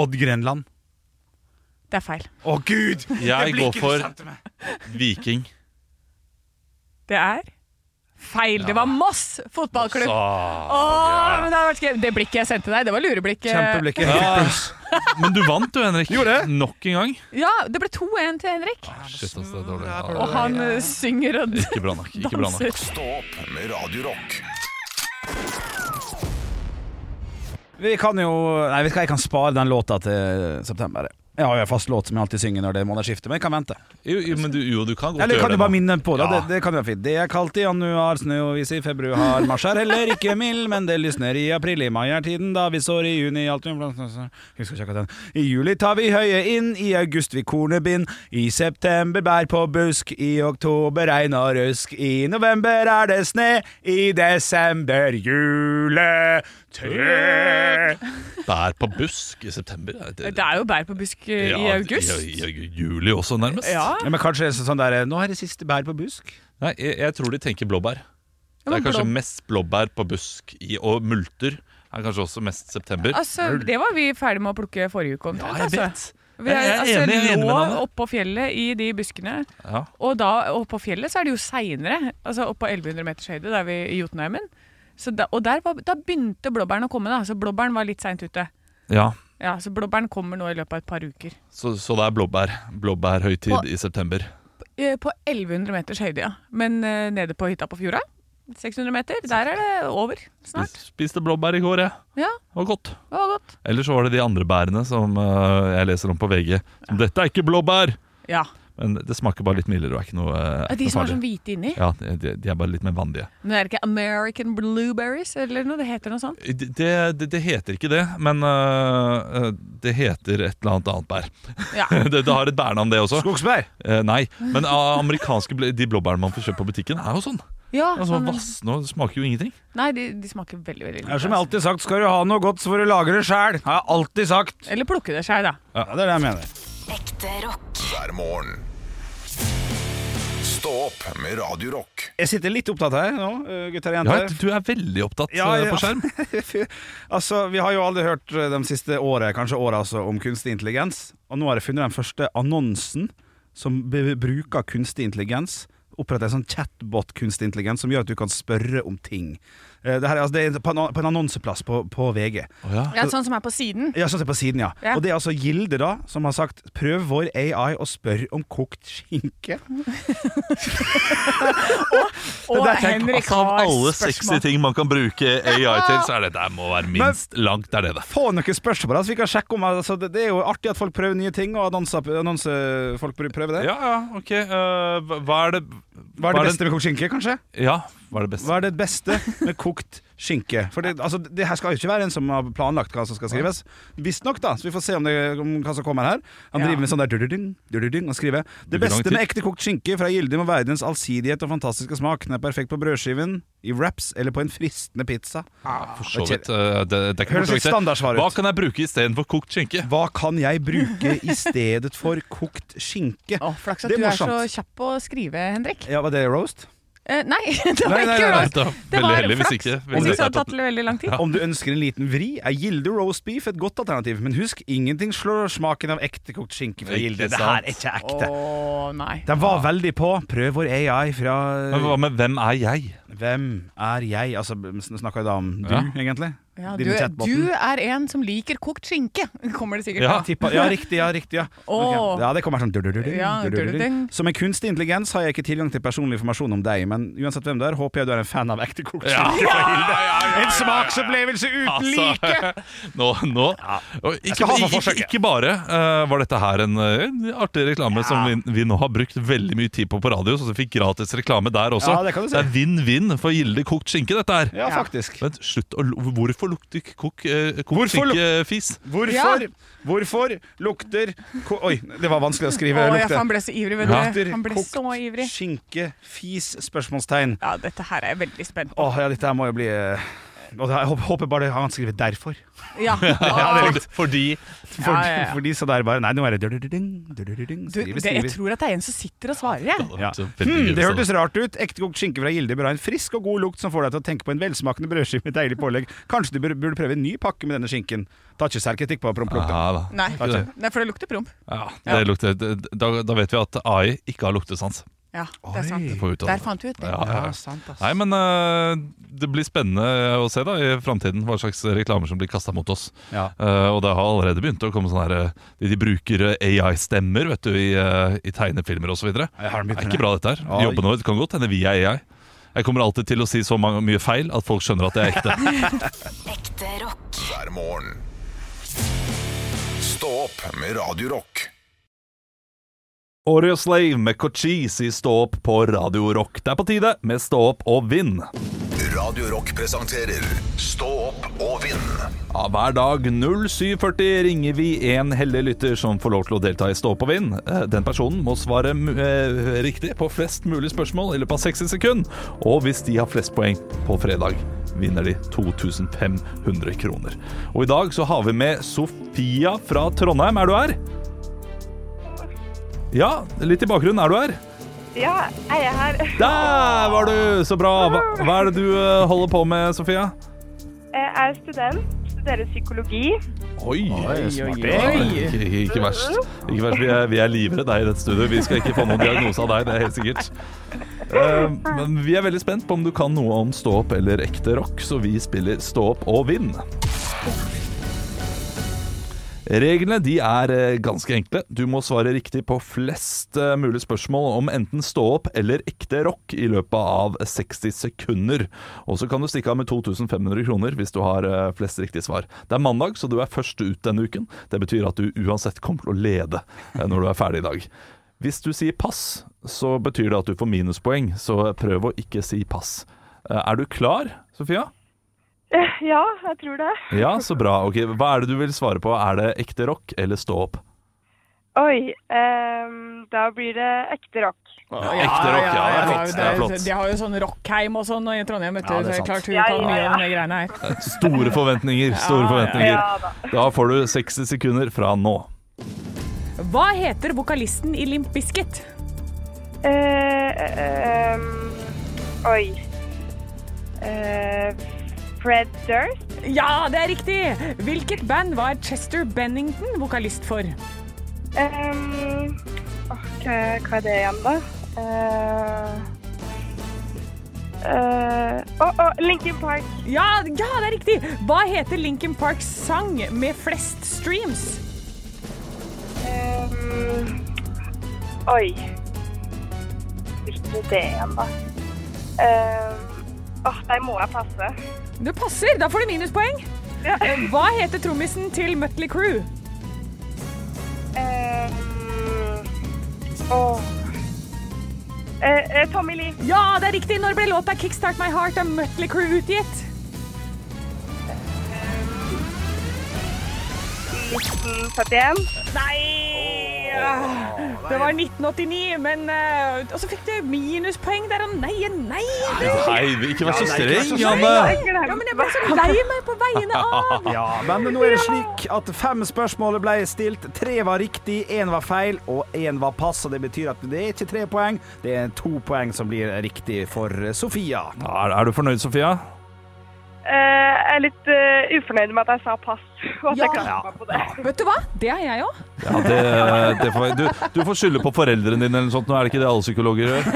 Odd Grenland. Det er feil. Å, gud! Det Jeg går blikket du for sendte meg. Viking. Det er feil. Det var Moss fotballklubb. Ah, Åh, men det, hadde vært gøy. det blikket jeg sendte deg, det var eh, lureblikket. Kjempeblikket. Jeg fikk puls. Men du vant du, Henrik. Nok en gang. Ah, Ja, det ble 2-1 til Henrik. Shit, ass, det er dårlig. Ja, Og han eh, synger og Ikke bra nok. Ikke bra nok. danser. Stå opp med Radio Rock. Vi kan jo Nei, vet du hva, jeg kan spare den låta til september. Jeg har jo en fast låt som jeg alltid synger når det er månedsskifte, men jeg kan vente. Jo, jo, men du, jo, du kan godt Eller gjøre kan du det. bare nå. minne på det? Ja. Det, det kan være fint. Det er kaldt i januar, snøovis i februar, mars er heller ikke mild, men det lysner i april, i mai er tiden da vi sår i juni alt vi Husker ikke akkurat den. I juli tar vi høye inn, i august vi kornebind, i september bær på busk, i oktober regn og rusk, i november er det sne, i desember juletre. Bær på busk i september. er Det, Det er jo bær på busk eh, i Ja, august. I, i, i juli også, nærmest. Ja, Ja, men kanskje det er sånn der Nå er det siste bær på busk. Nei, jeg, jeg tror de tenker blåbær. Det men er kanskje blå- mest blåbær på busk i, og multer. Er kanskje også mest september. altså, det var vi ferdig med å plukke forrige uke Ja, omtrent. jeg altså. Vi Jeg- jeg er enig- jeg er enig med lå Nanne. oppå fjellet i de buskene, Ja. og da oppå fjellet så er det jo seinere. Altså oppå 1100 meters høyde, der vi i Jotunheimen. Så da, og der var, da begynte blåbæren å komme, da. Så blåbæren var litt seint ute. ja. Ja, Så blåbæren kommer nå i løpet av et par uker. Så, så det er blåbær. Blåbærhøytid Og- i september. Eh, På 1100 meters høyde, ja. Men eh, nede på hytta på fjorda, 600 meter, der er det over Spis, snart. spiste blåbær i går, jeg. Ja, Det var godt. det var godt. Eller så var det de andre bærene som eh, jeg leser om på VG. Som, Dette er ikke blåbær! Ja. Men det smaker bare litt mildere og er ikke noe, eh, De ikke som noe er sånn farlig. hvite inni. Ja, de, de er bare litt mer vanlige. Men er det ikke American blueberries eller noe? Det heter noe sånt. Det, det, det heter ikke det, men eh, eh, det heter et eller annet annet bær. *laughs* Ja. det, det har et bærnavn, det også. Skogsbær! Eh, nei, men ah, amerikanske bl- de blåbærene man får kjøpt på butikken, er jo sånn. ja Det er sånn Vassende og det smaker jo ingenting. Nei, de, de smaker veldig, veldig Det er lite. som jeg alltid sagt, skal du ha noe godt, så får du lage det sjæl. Har jeg alltid sagt. Eller plukke det seg, da. Ja, det er det jeg mener. Hver morgen. Stå opp med Radio Rock. Jeg sitter litt opptatt her nå, eh, gutter og Ja, jenter. du er veldig opptatt Ja, eh, ja. *laughs* på skjerm. altså, vi har jo aldri hørt eh, de siste året, kanskje året altså, om kunstig intelligens. Og nå har jeg funnet den første annonsen som be- bruker kunstig intelligens. Opprette en sånn chatbot-kunstig intelligens som gjør at du kan spørre om ting. Eh, Det, her, er- altså, det er på en an- på en annonseplass på, på VG. Å ja. Ja, Sånn som er på siden. Ja, sånn som på siden, ja. Ja. Og det er altså Gilde da, som har sagt 'prøv vår AI og spør om kokt skinke'. Og der tenk- Henrik Altså, av har alle sexy spørsmål. ting man kan bruke AI til, så er det der må være minst langt er det det. Få noen spørsmål, altså, vi kan sjekke om altså, det, det er jo artig at folk prøver nye ting, og annonsefolk annonse, folk prø- prøver det. Ja, ja, ok. eh, hva- hva er det Hva er det beste med kokt skinke, kanskje? Ja, hva er det beste? Hva er det beste med kokt skinke? For det, altså, det her skal jo ikke være en som har planlagt hva som skal skrives. Visstnok, da. Så vi får se om, det, om hva som kommer her. Han Ja. driver med sånn der durdurding, durdurding og skriver Det Bruker lang beste tid. med ekte kokt skinke fra Gilde må være dens allsidighet og fantastiske smak. Den er perfekt på brødskiven, i wraps eller på en fristende pizza. For så vidt. eh, det, det er ikke Høres borte litt vekk, det. standardsvar Hva ut. kan jeg bruke istedenfor kokt skinke? Hva kan jeg bruke i stedet for kokt skinke? Å, Flaks at Det er du er så morsomt. kjapp på å skrive, Henrik. Ja, Var det roast? Eh, nei, *laughs* det var Nei, nei, ikke nei, Nei, da, bra. Det veldig var heldig hvis flaks. ikke. Hvis ville ikke så jeg hadde det tatt tatt veldig lang tid. Om du ønsker en liten vri, er Gilde roast beef et godt alternativ. Men husk, ingenting slår smaken av ekte kokt skinke fra Ikke Gilde. Det sant. her er ikke ekte. Å, nei. Den var veldig på. Prøv vår AI fra Men hva med 'Hvem er jeg'? *laughs* Hvem er jeg? Altså, vi sn- snakker jo da om du, Ja. egentlig. Ja, Din du, chatboten. du er en som liker kokt skinke, *laughs* kommer det sikkert Ja. Ja, fra. tippa- ja, riktig, ja, riktig, ja. Åh. Ok. ja det kommer sånn du-du-du-du, Ja, du-du-du-du. du-du-du-du. Som en kunstig intelligens har jeg ikke tilgang til personlig informasjon om deg, men uansett hvem du er, håper jeg du er en fan av ekte kokt skinke fra Gilde. En smaksopplevelse uten Altså. like! *laughs* nå, nå. Og ikke, skal ha for ikke, ikke, forsøket. ikke bare eh, var dette her en eh, artig reklame som vi, vi nå har brukt veldig mye tid på på radio, så vi fikk gratis reklame der også. Ja, det kan du si. er vinn-vinn for Gilde kokt skinke, dette her. Ja, faktisk. Vent, slutt å lo- Hvorfor lukter k- kok, eh, kokt Hvorfor luk- skinkefis? *laughs* Hvorfor, hvorfor lukter ko Oi, det var vanskelig å skrive. Å, ja, for lukte. han ble så ivrig, vet Ja. du. Han ble Kokt så ivrig. Skinke, fis, spørsmålstegn. Ja, dette her er jeg veldig spent på. Åh, ja, dette her må jo bli eh, Og jeg håper- håper bare han skriver 'derfor'. Ja. fordi Fordi, Ja, ja, ja. fordi så det er bare Nei, nå er det dødødøding, dødødøding, Du, skriver, det, jeg skriver. tror at det er en som sitter og svarer, jeg. Ja. Så veldig Hmm, gøy, det hørtes så. rart ut. Ektekokt skinke fra Gilde bør ha en frisk og god lukt som får deg til å tenke på en velsmakende brødskive med deilig pålegg. Kanskje du bur- burde prøve en ny pakke med denne skinken. Tar ikke særlig kritikk på promplukta. Ja, da. Nei, Takk. Nei, for det lukter promp. Ja, det lukter, da, da vet vi at AI ikke har luktesans. Ja, det er sant. Det får vi ut av Der det. fant vi ut det. altså. Ja, ja. sant, ass. Nei, men eh, det blir spennende å se da i framtiden hva slags reklamer som blir kasta mot oss. Ja. Eh, og det har allerede begynt å komme sånne her, eh, de, de bruker eh, AI-stemmer vet du, i, eh, i tegnefilmer osv. Det Jeg har den er biten ikke her. bra, dette her. Oi. Jobben vår det kan godt hende vi er AI. Jeg kommer alltid til å si så mange, mye feil at folk skjønner at det *laughs* er ekte. hver morgen. Stå opp med Radio Rock. Oreo Slave med Cochise i Stå opp på Radio Rock. Det er på tide med Stå opp og vinn. Radio Rock presenterer Stå opp og vinn Ja, hver dag 07.40 ringer vi en heldig lytter som får lov til å delta i Stå opp og vinn. Eh, Den personen må svare mu- eh, riktig på flest mulig spørsmål i løpet av 60 sekunder. Og hvis de har flest poeng på fredag, vinner de 2500 kroner. Og i dag så har vi med Sofia fra Trondheim. Er du her? Ja, litt i bakgrunnen. Er du her? Ja, jeg er her. Der var du! Så bra. Hva, hva er det du eh, holder på med, Sofia? Jeg er student, studerer psykologi. *laughs* Oi, smart. Ikke, ikke, ikke verst. Ikke verst. Vi, er, vi er livredde deg i dette studioet. Vi skal ikke få noen diagnose av deg, det er helt sikkert. Eh, men vi er veldig spent på om du kan noe om stå opp eller ekte rock, så vi spiller stå opp og vinn. Reglene de er eh, ganske enkle. Du må svare riktig på flest eh, mulig spørsmål om enten stå opp eller ekte rock i løpet av 60 sekunder. Og så kan du stikke av med 2500 kroner hvis du har eh, flest riktige svar. Det er mandag, så du er først ut denne uken. Det betyr at du uansett kommer til å lede eh, når du er ferdig i dag. Hvis du sier pass, så betyr det at du får minuspoeng, så prøv å ikke si pass. Eh, Er du klar, Sofia? Ja, jeg tror det. Ja, så bra. Ok, Hva er det du vil svare på? Er det ekte rock eller stå opp? Oi, ehm, da blir det ekte rock. Ekte rock, ja. Det er flott. Det er flott. De har jo sånn rockheim og sånn i Trondheim, vet du. Ja, det så er det er sant. klart hun Ja, kan ja, mye ja. om de greiene her. Store forventninger. Store Ja forventninger. da. Da får du 60 sekunder fra nå. Hva heter vokalisten i Limp Bizkit? Eh, eh, ehm, oi. Eh, Fred Durst. Ja, det er riktig! Hvilket band var Chester Bennington vokalist for? Ehm, åh, hva, hva er det igjen, da? Eh, eh, Å, å, Linkin Park. Ja, ja, det er riktig! Hva heter Linkin Parks sang med flest streams? Ehm, oi. Hvilken idé igjen, da? Ehm, Åh, der må jeg passe. Det passer! Da får du minuspoeng. Eh, Ja. Hva heter trommisen til Mutley Crew? Ehm, åh. Eh, eh, Tommy Lee. Ja, det er riktig! Når ble låta 'Kickstart My Heart' av Mutley Crew utgitt? 1971. Nei! Det var 1989, men eh, Og så fikk du minuspoeng der, og nei, nei det, Nei, ikke vær så streng, Janne. Ja, men jeg ble så lei sånn, meg på vegne av Ja, men nå er det slik at fem spørsmål ble stilt. Tre var riktig, én var feil, og én var pass. Og det betyr at det er ikke tre poeng, det er to poeng som blir riktig for Sofia. Er, er du fornøyd, Sofia? Eh, jeg er litt eh, ufornøyd med at jeg sa pass, og at jeg Ja. klarte meg på det. Vet du hva? Det har jeg òg. Ja, det, det får, du, du får skylde på foreldrene dine eller noe sånt. Nå er det ikke det alle *laughs* psykologer gjør.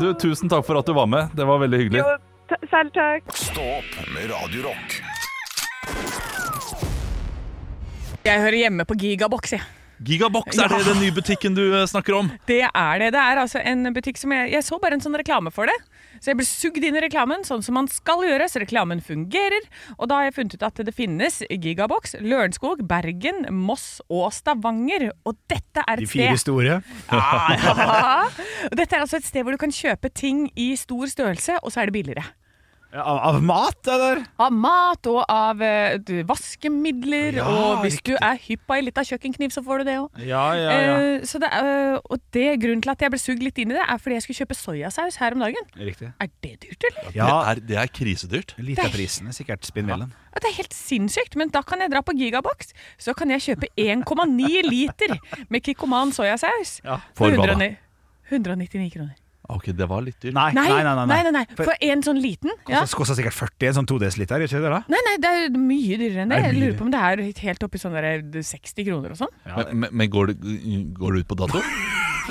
Du, tusen takk for at du var med. Det var veldig hyggelig. Jo, t- Selv takk. Stå opp med Radio Rock Jeg hører hjemme på Gigabox, jeg. Gigabox, er det den nye butikken du eh, snakker om? Det er det. Det er altså en butikk som jeg Jeg så bare en sånn reklame for det. Så jeg ble sugd inn i reklamen, sånn som man skal gjøre. Så reklamen fungerer. Og da har jeg funnet ut at det finnes Gigabox, Lørenskog, Bergen, Moss og Stavanger. Og dette er et sted store. *laughs* Ja. Og Dette er altså et sted hvor du kan kjøpe ting i stor størrelse, og så er det billigere. Av, av mat, eller? Av mat og av eh, du, vaskemidler. Ja, og hvis riktig. du er hypp av ei lita kjøkkenkniv, så får du det òg. Ja, ja, ja. så det, er- og det grunnen til at jeg ble sugd litt inn i det, er fordi jeg skulle kjøpe soyasaus her om dagen. Riktig. Er det dyrt, eller? Ja, Det, er, det er krisedyrt. lite av prisen er sikkert spinnvellen. Ja, Det er helt sinnssykt, men da kan jeg dra på Gigabox. Så kan jeg kjøpe 1,9 liter med Kikkoman soyasaus. Ja. For hva da? 100 199 kroner. Ok, det var litt dyrt. Nei, nei, nei. nei, nei. For en sånn liten. Ja. Kosta kosta sikkert 40, en sånn 2 liter, ikke det da? Nei, nei, det er mye dyrere enn det. Er det Jeg mye lurer på om det er helt oppi sånn der 60 kroner og sånn. Men, men- men går, det, går det ut på dato?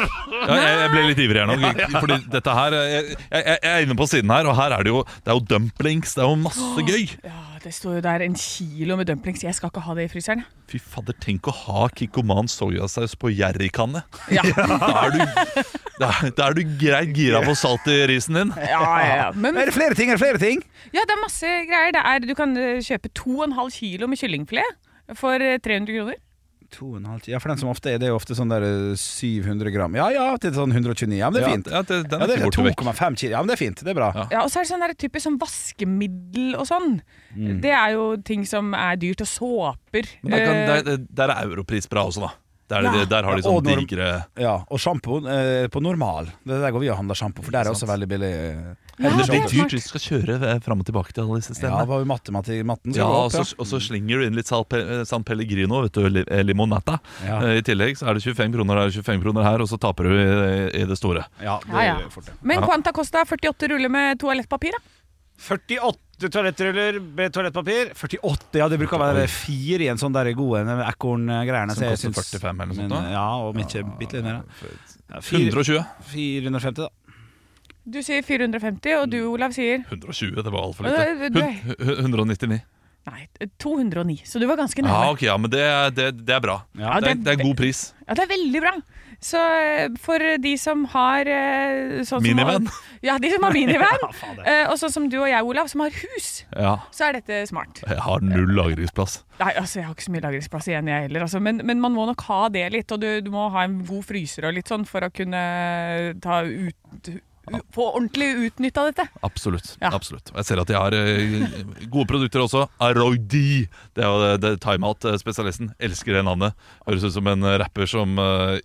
Ja, jeg, jeg ble litt ivrig her nå. Fordi dette her jeg, jeg, jeg er inne på siden her, og her er det jo Det er jo dumplings. Det er jo masse gøy. Ja, Ah, det står jo der en kilo med dumplings. Jeg skal ikke ha det i fryseren. Fy fadder, tenk å ha Kikkoman soyasaus på jerrykanne. Ja. *laughs* Da er du, da er, da er du greit gira på salt i risen din. Ja, ja, ja. *laughs* Men, Er det flere ting? Er det flere ting? ja, det er masse greier. Det er, du kan eh, kjøpe 2,5 kilo med kyllingfilet for eh, 300 kroner. To og en halv, ti- ja, for den som ofte er, det er jo ofte sånn der eh, 700 gram. Ja ja, til sånn 129. Ja, men det er fint. Ja, det, den Ja, er det ikke er borte vekk. 2,5 kilo. Ja, men det er fint. Det er bra. Ja. Ja, og så er det sånn der typisk sånn vaskemiddel og sånn. Det er jo ting som er dyrt, og såper. Mm. Men der, Eh, kan, der, der er europris bra også, da. Der, er det- der har de Ja, og sånne norm- digre Ja, Og sjampo eh, på normal. Det er der går vi og handler sjampo, for der er også veldig billig. eh, Ja, Eller det det blir er dyrt smart. hvis du skal kjøre eh, fram og tilbake til alle disse Ja, stedene. var jo matematikk, matten Ja, skal gå altså, og opp, så, og så slenger du inn litt Sal Pe- eh, San Pellegrino, vet du, li- eh, limonata. Ja. Eh, I tillegg så er det 25 kroner her, 25 kroner her, og så taper du i, i det store. ja. det Ja, ja. er fort det. Men Ja. Quanta Costa 48 ruller med toalettpapir, da. 48 toalettruller med toalettpapir. 48, ja, det bruker å være fire i en sånn der god en med ekorngreiene. Som så jeg koster syns- 45 eller noe Men, sånt, da. Ja, om ikke bitte litt mer. da. Ja, fire- 120. 450, da. Du sier 450, og du, Mm. Olav, sier 120, det var altfor Ja, lite. det- det- Hun- hun- 199. Nei, eh, 209. Så du var ganske nærme. Ja, ok, ja, men det, er- det, det er bra. Ja, det, er, det er god pris. Ja, det er veldig bra. Så eh, for de som har eh, sånn som- Minivan. ja, *laughs* de som har minivan. fader. eh, og sånn som du og jeg, Olav, som har hus, Ja. så er dette smart. Jeg har null lagringsplass. Nei, altså, jeg har ikke så mye lagringsplass igjen, jeg heller. Altså. Men, men man må nok ha det litt, og du, du må ha en god fryser og litt sånn for å kunne ta ut u- Få ordentlig utnytta *laughs* dette. Absolutt. Ja. absolutt Og Jeg ser at de har eh, gode produkter også. Aroidi. Det er jo det- det timeout-spesialisten. Elsker det navnet. Høres ut som en rapper som eh,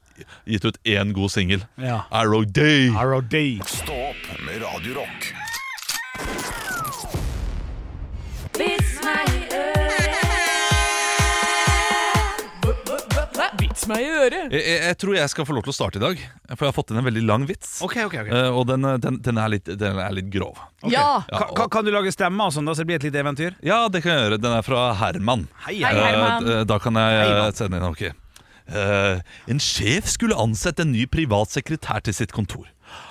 gitt ut én god singel. Ja. Aroidi. ROD. Stå opp med Radio Rock. Vits meg i øret! Jeg, jeg, jeg tror jeg skal få lov til å starte i dag, for jeg har fått inn en veldig lang vits. Ok, ok, ok. Eh, og den, eh, den, den, er litt, den er litt grov. Ja! Ja, Ka- ka- kan du lage stemme og sånn, da, så det blir et lite eventyr? Ja, det kan jeg gjøre. Den er fra Herman. Hei, Hei, Herman. Eh, d- da kan jeg eh, Herman. sende inn ok. Eh, en sjef skulle ansette en ny privat sekretær til sitt kontor.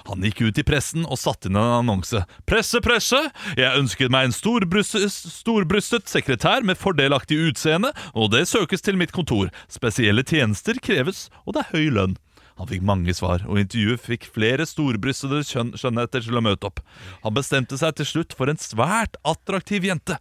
Han gikk ut i pressen og satte inn en annonse. Presse, presse! Jeg ønsket meg en storbrystet, storbrystet sekretær med fordelaktig utseende, og det søkes til mitt kontor. Spesielle tjenester kreves, og det er høy lønn. Han fikk mange svar, og intervjuet fikk flere storbrystede skjønn- skjønnheter til å møte opp. Han bestemte seg til slutt for en svært attraktiv jente.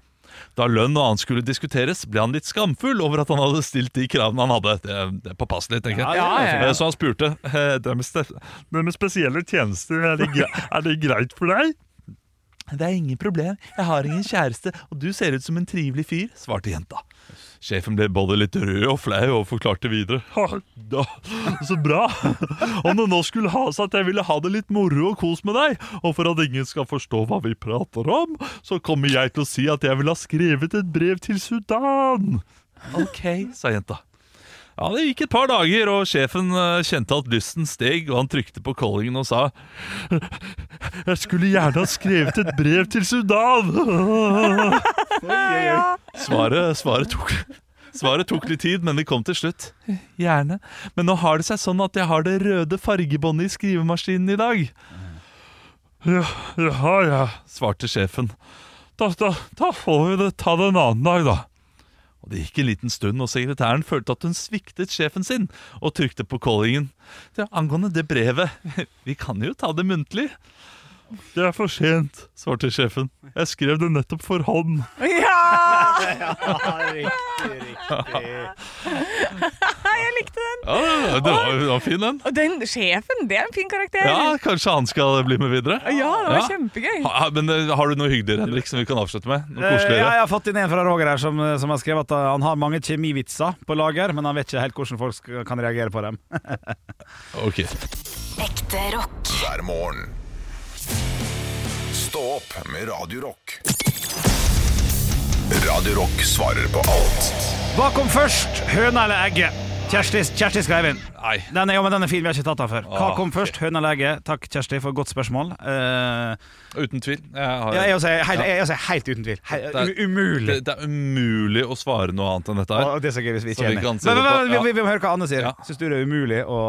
Da lønn og annet skulle diskuteres, ble han litt skamfull over at han hadde stilt de kravene han hadde. Det, er- det er påpasselig, tenker jeg. Ja, ja, ja. Eh, Så han spurte eh, det med, ste- det med spesielle tjenester, er det, gre- er det greit for deg? Det er ingen problem, jeg har ingen kjæreste, og du ser ut som en trivelig fyr, svarte jenta. Sjefen ble både litt rød og flau og forklarte videre. *laughs* «Ha, da, Så bra! Om det nå skulle ha seg at jeg ville ha det litt moro og kos med deg, og for at ingen skal forstå hva vi prater om, så kommer jeg til å si at jeg vil ha skrevet et brev til Sudan. Ok, sa jenta. Ja, Det gikk et par dager, og sjefen eh, kjente at lysten steg, og han trykte på callingen og sa Jeg skulle gjerne ha skrevet et brev til Sudan! Svaret, svaret, tok, svaret tok litt tid, men det kom til slutt. Gjerne. Men nå har det seg sånn at jeg har det røde fargebåndet i skrivemaskinen i dag. Ja, ja, ja, svarte sjefen. Da, da, da får vi det, ta det en annen dag, da. Og Det gikk en liten stund, og sekretæren følte at hun sviktet sjefen sin, og trykte på callingen. Det angående det brevet, *laughs* vi kan jo ta det muntlig. Det er for sent, svarte sjefen. Jeg skrev det nettopp for hånd. Ja! *laughs* jeg likte den! Ja, det var, det var fin, den. Og den sjefen, det er en fin karakter. Ja, Kanskje han skal bli med videre? Ja, det var Ja. kjempegøy. Ha, men eh, Har du noe hyggeligere, Henrik, som vi kan avslutte med? Noe Eh, Ja, koseligere? jeg har fått inn en fra Roger her som, som har skrevet at eh, han har mange kjemivitser på lager, men han vet ikke helt hvordan folk sk- kan reagere på dem. *laughs* Ok Ekte rock. hver morgen. Stå opp med Radio Rock. Radio Rock svarer på alt. Hva kom først, høna eller egget? Kjersti, Kjersti skrev inn. Nei. Den er, jo, men den er fin, vi har ikke tatt den før. Hva Ah, kom først, høna eller egget? Takk, Kjersti, for et godt spørsmål. Eh, Uten tvil. Jeg har, ja, jeg også er helt, jeg også er helt uten tvil. He- Det er- u- umulig. det, det er umulig å svare noe annet enn dette her. Og det er så gøy hvis vi Så ikke er vi enige. kan Men, si det men, på- men, vi, ja. vi, vi må høre hva Anne sier. Ja. Syns du det er umulig å,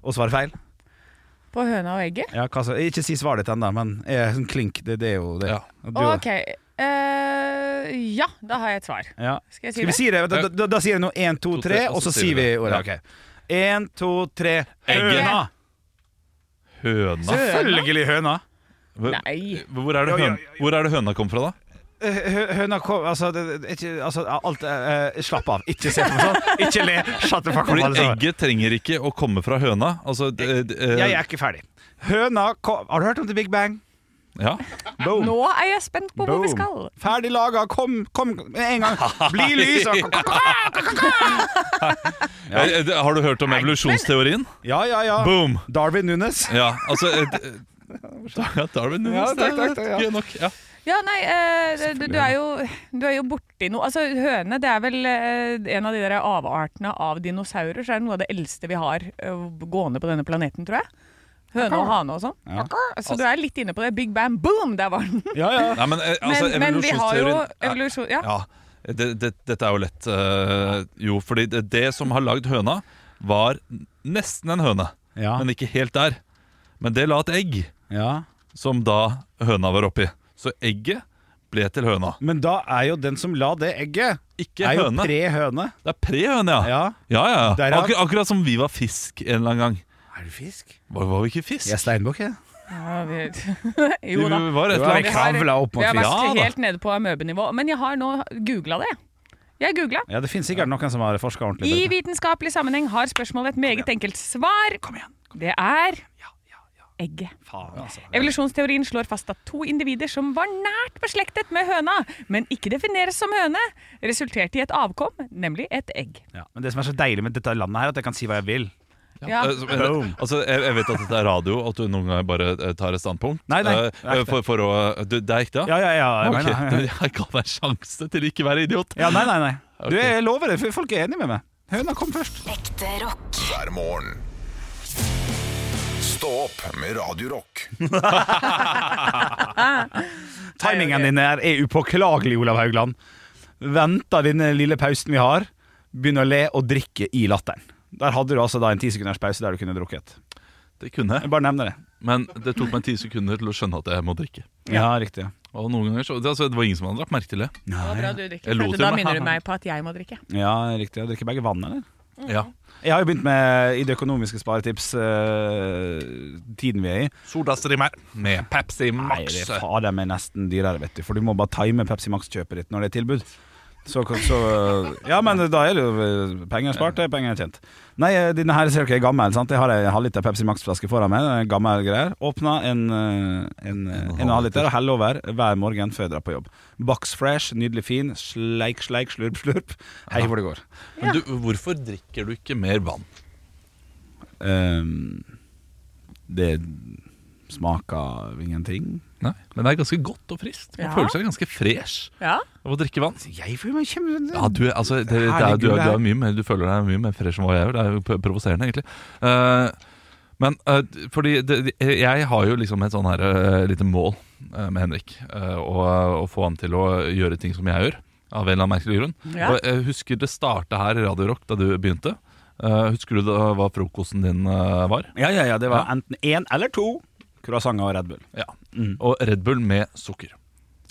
å svare feil? På høna og egget. Ja, hva så? Ikke si svaret ditt ennå, men eh, sånn klink, det, det er jo det. Ja. Og du- Ok. eh, ja, da har jeg et svar. Ja. Skal jeg si Skal vi det? si det? Da, da, da, da sier jeg nå én, to, To, tre, og så sier vi det. ordet. Ja. Ok. Én, to, tre Egget. Høna! Høna Selvfølgelig høna. Hvor- Nei. Hvor er, det høna Hvor er det høna kom fra, da? Eh, hø- Høna kom Altså, det, det- ikke, altså alt eh, eh, Slapp av. Ikke se på meg *laughs* sånn. Ikke le. Shut the fuck up. Fordi alle sammen. egget trenger ikke å komme fra høna. Altså, det, det, eh, Jeg er ikke ferdig. Høna kom Har du hørt om The Big Bang? ja. Boom. Nå er jeg spent på hvor Boom. vi skal. Ferdig laga. Kom, kom med en gang. *laughs* Bli lys. og- Eh, det- Har du hørt om evolusjonsteorien? Ja, ja, ja. Boom! Darwin Nunes. Ja, altså eh, d- da, da er vi nå. Ja, takk, takk, takk, ja. Gøy nok. Ja. Ja, nei, eh, du, du er jo, du er jo borti noe Altså, høne det er vel eh, en av de der avartene av dinosaurer. Så er det noe av det eldste vi har eh, gående på denne planeten, tror jeg. Høne og hane og sånn. Så du er litt inne på det. Big bam, boom, der var den. Ja, ja. Nei, men, eh, altså, Men, men vi har jo evolusjonsteorien- Ja. evolusjon... Ja. Ja, det, det, dette er jo lett eh, Jo, fordi det, det som har lagd høna Var nesten en høne Ja. Men ikke helt der Men det la et egg ja. Som da høna var oppi Så egget ble til høna Men da er jo den som la det egget, Ikke er jo høne pre høne. Det er pre-høne, ja Ja. ja, ja, ja. Der er- Akkur Akkurat som vi var fisk en eller annen gang Er du fisk? Var, var vi ikke fisk? Jeg er steinbukk, jeg. Ja, vi- *laughs* jo da. Vi var et Du eller er annet kravla opp mot Jeg har fisk. Ja, vært da. helt nede på amøbenivå. Men jeg har nå googla det. Jeg googla. Ja, det finnes sikkert noen som har forska ordentlig. I på dette. vitenskapelig sammenheng har spørsmålet et meget enkelt svar. Det er egget. Faen, altså. Evolusjonsteorien slår fast at to individer som var nært beslektet med høna, men ikke defineres som høne, resulterte i et avkom, nemlig et egg. Ja, men det som er så deilig med dette landet, her er at jeg kan si hva jeg vil. Ja. Eh, så- men, altså, jeg, jeg vet at dette er radio og At du noen ganger bare eh, tar et standpunkt Nei, nei, Eh, det er ikke for, for å, eh, du, Det er ikke det? Ja, ja, ja. Jeg, Ok, mener. *laughs* jeg ga deg en sjanse til ikke å være idiot ja nei, nei, nei. Du, Ok. jeg lover det, for folk er enige med meg. Høna kom først. Ekte rock. hver morgen. Stå opp med Radio Rock. Timingen din her er upåklagelig, Olav Haugland. Venta denne lille pausen vi har, begynn å le og drikke i latteren. Der hadde du altså da en tisekunders pause der du kunne drukket. Det kunne jeg Jeg bare nevner det. Men det tok meg ti sekunder til å skjønne at jeg må drikke. Ja, riktig. Og noen ganger så, det, altså, det var ingen som hadde lagt merke til det. Det var bra du drikker, Jeg for lot da jo meg. minner du meg på at jeg må drikke. Ja, riktig. Jeg drikker begge vann, eller? Ja. Jeg har jo begynt med i det økonomiske sparetips eh, tiden vi er i. Sodastreamer med Pepsi Nei, Max. det er fader meg nesten dyrere, vet du. For du må bare time Pepsi Max-kjøpet ditt når det er tilbud. Så, så Ja, men da er det jo eh, penger spart, det er penger tjent. Nei, eh, denne her ser dere er gammel, sant. Jeg har ei halvliter Pepsi Max-flaske foran meg. en Gammel greier. Åpna en, eh, en, eh, en halvliter og heller over hver morgen før jeg drar på jobb. Box fresh, nydelig fin. Sleik, sleik, slurp, slurp. Hei hvor det går. Men du, hvorfor drikker du ikke mer vann? Ehm, det smaker ingenting. Nei, Men det er ganske godt og friskt. Man Ja. føler seg ganske fresh Ja, av å drikke vann. Jeg føler meg kjempe... Ja, du, er- altså, det, det er, Herregud, du, er, du, det er- er mye mer, du føler deg mye mer fresh enn hva jeg gjør. Det er jo p- provoserende, egentlig. Eh, men eh, fordi det, det- jeg har jo liksom et sånn her eh, lite mål eh, med Henrik. eh, og, å få han til å gjøre ting som jeg gjør, av en eller annen merkelig grunn. Ja. Og jeg husker det starta her i Radio Rock da du begynte. Eh, husker du da hva frokosten din eh, var? Ja, ja, ja, det var enten én eller to croissanter og Red Bull. Ja. Og Red Bull med sukker.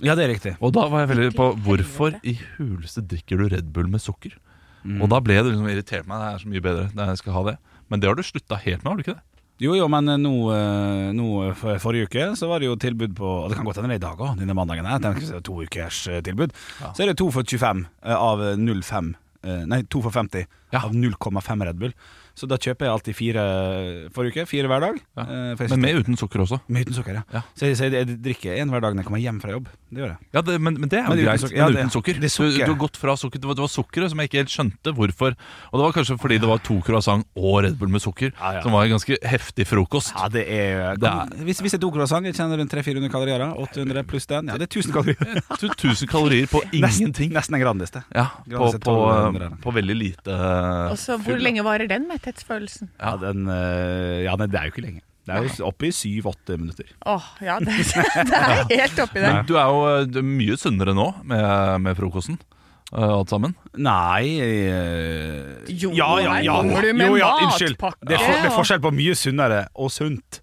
Ja, det er riktig. Og da var jeg veldig på hvorfor i huleste drikker du Red Bull med sukker? Mm. Og da ble det liksom irritert meg. Det er så mye bedre. Det er- Jeg skal ha det. Men det har du slutta helt med, har du ikke det? Jo, jo, men nå, eh, nå for, forrige uke så var det jo tilbud på og Det kan godt hende det er i dag òg, denne mandagen her. tenker jeg, så det er To ukers eh, tilbud. Så er det to for 25 eh, av 05 eh, Nei, to for 50 av 0,5 Red Bull. Så da kjøper jeg alltid fire eh, forrige uke. Fire hver dag. Ja. Eh, for jeg Men synes- med uten sukker også. med uten sukker, ja. Ja. Så, jeg, så jeg, jeg drikker én hver dag når jeg kommer hjem fra jobb. Det gjør jeg. Ja, det, men, men det er jo Men uten greit. sukker. Ja, men det- uten sukker. det er sukker. Du, du har gått fra sukker. Det var, det var sukkeret som jeg ikke helt skjønte hvorfor. Og det var kanskje fordi det var to croissant og Red Bull med sukker, Ja, ja. som var en ganske heftig frokost. Ja, det er, Det er- Hvis, hvis jeg tok croissant, jeg kjenner rundt 300-400 kalorier. da. 800 pluss den. Ja, det er 1000 *laughs* kalorier. *laughs* Tu- 1000 kalorier på Nesten, ingenting. nesten en Grandis, det. Ja, på, Granset på, um, 1200. på veldig lite eh, Og så full, Hvor da. lenge varer den metthetsfølelsen? Ja, den, eh, ja nei, det er jo ikke lenge. Det er jo oppe i 7-8 minutter. Åh, *laughs* ja, det, det er helt oppi der. Men du er jo eh, du er mye sunnere nå med, med frokosten. eh, alt sammen. Nei eh, Jo, ja, ja, her ja. kommer du med jo, ja, unnskyld. matpakke Det er, for, det er og- forskjell på mye sunnere og sunt.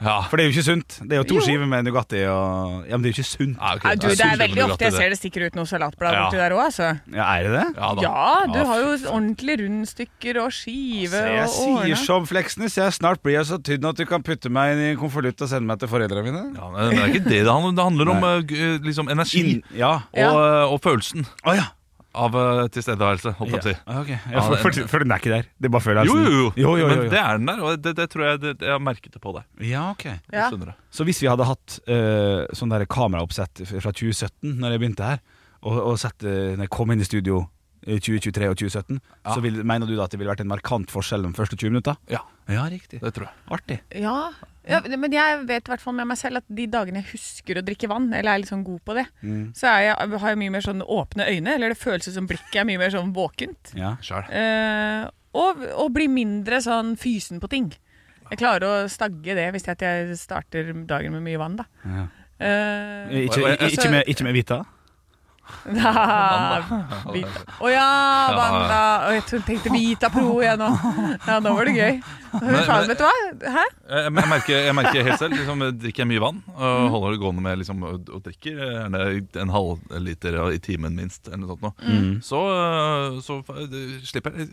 Ja. For det er jo ikke sunt. Det er jo to Jo. skiver med Nugatti og Ja, men det er jo ikke sunt. Ja, ok, Nei, du, det er sunnere veldig med ofte jeg Nugatti, ser det stikker ut noe salatblad Ja. borti der òg, altså. Ja, er det det? Ja, da. Ja, du Ja, har jo ordentlig rundstykker og skive Så og Altså, jeg sier ordna. som Fleksnes, jeg snart blir jeg så tynn at du kan putte meg inn i en konvolutt og sende meg til foreldrene mine. Ja, men det er ikke det det handler om. Det handler om eh, g- liksom energi Inn, ja. og, eh, Ja. og følelsen Å ja. av eh, tilstedeværelse. Holdt jeg på å si. Ah, ok. Ja, ja for, for, for den er ikke der. Det er bare følelsen. Jo, jo, jo. jo, jo, jo, Men det er den der, og det, det tror jeg det, jeg har merket det på deg. Ja, ok. Ja. Du skjønner det. Så hvis vi hadde hatt eh, sånn der kameraoppsett f- fra 2017, når jeg begynte her, og, og sett eh, når jeg kom inn i studio i 2023 og 2017, Ja. så vil, mener du da at det ville vært en markant forskjell de første 20 minutter? Ja, Ja, riktig. det tror jeg. Artig. Ja. ja, men jeg vet i hvert fall med meg selv at de dagene jeg husker å drikke vann, eller er litt sånn god på det, så er jeg, har jeg mye mer sånn åpne øyne, eller det føles som blikket er mye mer sånn våkent. Ja. Sjæl. Eh, og, og blir mindre sånn fysen på ting. Jeg klarer å stagge det hvis jeg, at jeg starter dagen med mye vann, da. Ja. Eh, Ikke, Og- altså- ikke, ikke, med, ikke med Vita? da, Vita. Å ja, vann, da. Og jeg tro- tenkte Vita Pro igjen nå. Ja, nå var det gøy. Men- Faen, men- vet du hva? Hæ? Jeg, jeg, merker, jeg merker helt selv. Liksom, drikker jeg mye vann og holder det gående med liksom, og, og drikker gjerne en halv liter i timen minst, eller noe sånt nå, Mm. Mm. så, øh, så øh, slipper jeg,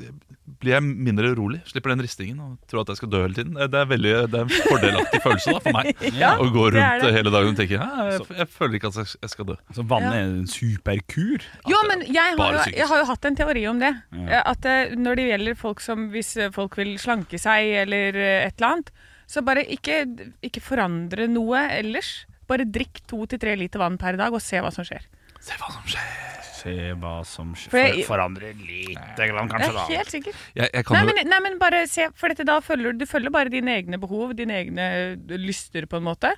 blir jeg mindre rolig. Slipper den ristingen og tror at jeg skal dø hele tiden. Det er, veldig, det er en fordelaktig følelse da, for meg *laughs* Ja, å gå det er rundt det. hele dagen og tenke «Hæ, jeg, jeg føler ikke at jeg- jeg skal dø. Så vannet Ja. er en superkur? Jo, men jeg har, bare jo, psykisk. jeg har jo hatt en teori om det. Eh, At eh, når det gjelder folk som Hvis eh, folk vil slanke seg eller eh, et eller annet, så bare ikke, ikke forandre noe ellers. Bare drikk to til tre liter vann per dag og se hva som skjer. Se hva som skjer. Se hva som skjer. For jeg- forandrer lite grann, Jeg Altså kanskje, er helt sikker. Jeg, jeg kan Nei jo- men, nei, men bare se, for dette da følger du følger bare dine egne behov, dine egne eh, lyster, på en måte.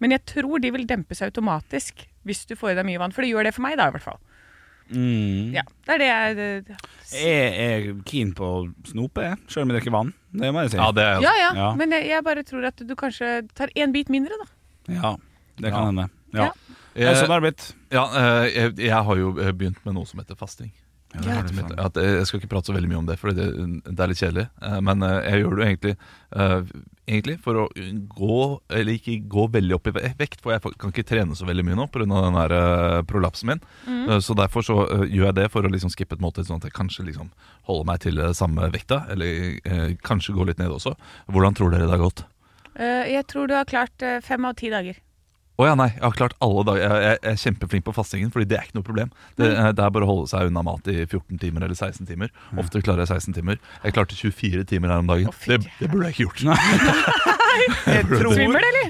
Men jeg tror de vil dempes automatisk hvis du får i deg mye vann. For det gjør det for meg, da, i hvert fall. Mm. Ja, det er det jeg eh, Jeg er keen på å snope, jeg, sjøl om jeg drikker vann. Det må jeg si. Ja, det er jeg også. Ja, ja. Ja. Men jeg, jeg bare tror at du kanskje tar én bit mindre, da. Ja, det Ja. kan hende. Ja. Ja. Det er sånn det har blitt. Ja, eh, jeg, jeg har jo eh, begynt med noe som heter fasting. Som heter- At eh, jeg skal ikke prate så veldig mye om det, for det, det er litt kjedelig. Eh, Men eh, jeg gjør det jo egentlig, eh, egentlig for å gå, eller ikke gå veldig opp i ve- vekt, for jeg fa- kan ikke trene så veldig mye nå pga. den her eh, prolapsen min. Eh, Så derfor så eh, gjør jeg det for å liksom skippe et måltid, sånn at jeg kanskje liksom holder meg til eh, samme vekta, eller eh, kanskje gå litt ned også. Hvordan tror dere det har gått? Eh, jeg tror du har klart eh, fem av ti dager. Å ja, nei. Jeg har klart alle dager. Jeg, jeg, jeg er kjempeflink på fastingen, fordi det er ikke noe problem. Det, det er bare å holde seg unna mat i 14 timer eller 16 timer. Ofte klarer jeg 16 timer. Jeg klarte 24 timer her om dagen. Å, fy det, det burde jeg ikke gjort. Jeg Svimmel, eller?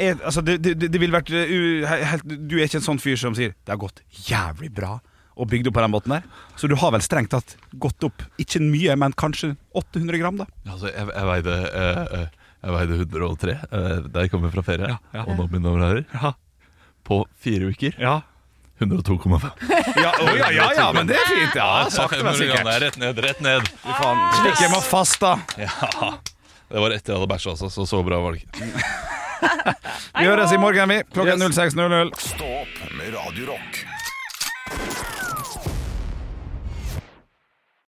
jeg, altså, det, det, det ville vært uh, u- he- helt, Du er ikke en sånn fyr som sier 'det har gått jævlig bra' og bygd opp på den måten der. Så du har vel strengt tatt gått opp, ikke mye, men kanskje 800 gram, da. Altså, jeg, jeg veide eh, eh, Jeg veide 103 eh, da jeg kom hjem fra ferie, og nå mine overhører. På fire uker 102,5. Ja, å, ja, ja, ja, men det er fint. Ja, sakte, men Det er sikkert. Rett ned, rett ned. Fy faen. Slik jeg må fast, da. Det var etter jeg hadde bæsja, altså. Så, så bra var det ikke. Vi høres i morgen, vi. Klokka 06.00. Stå opp med Radio Rock.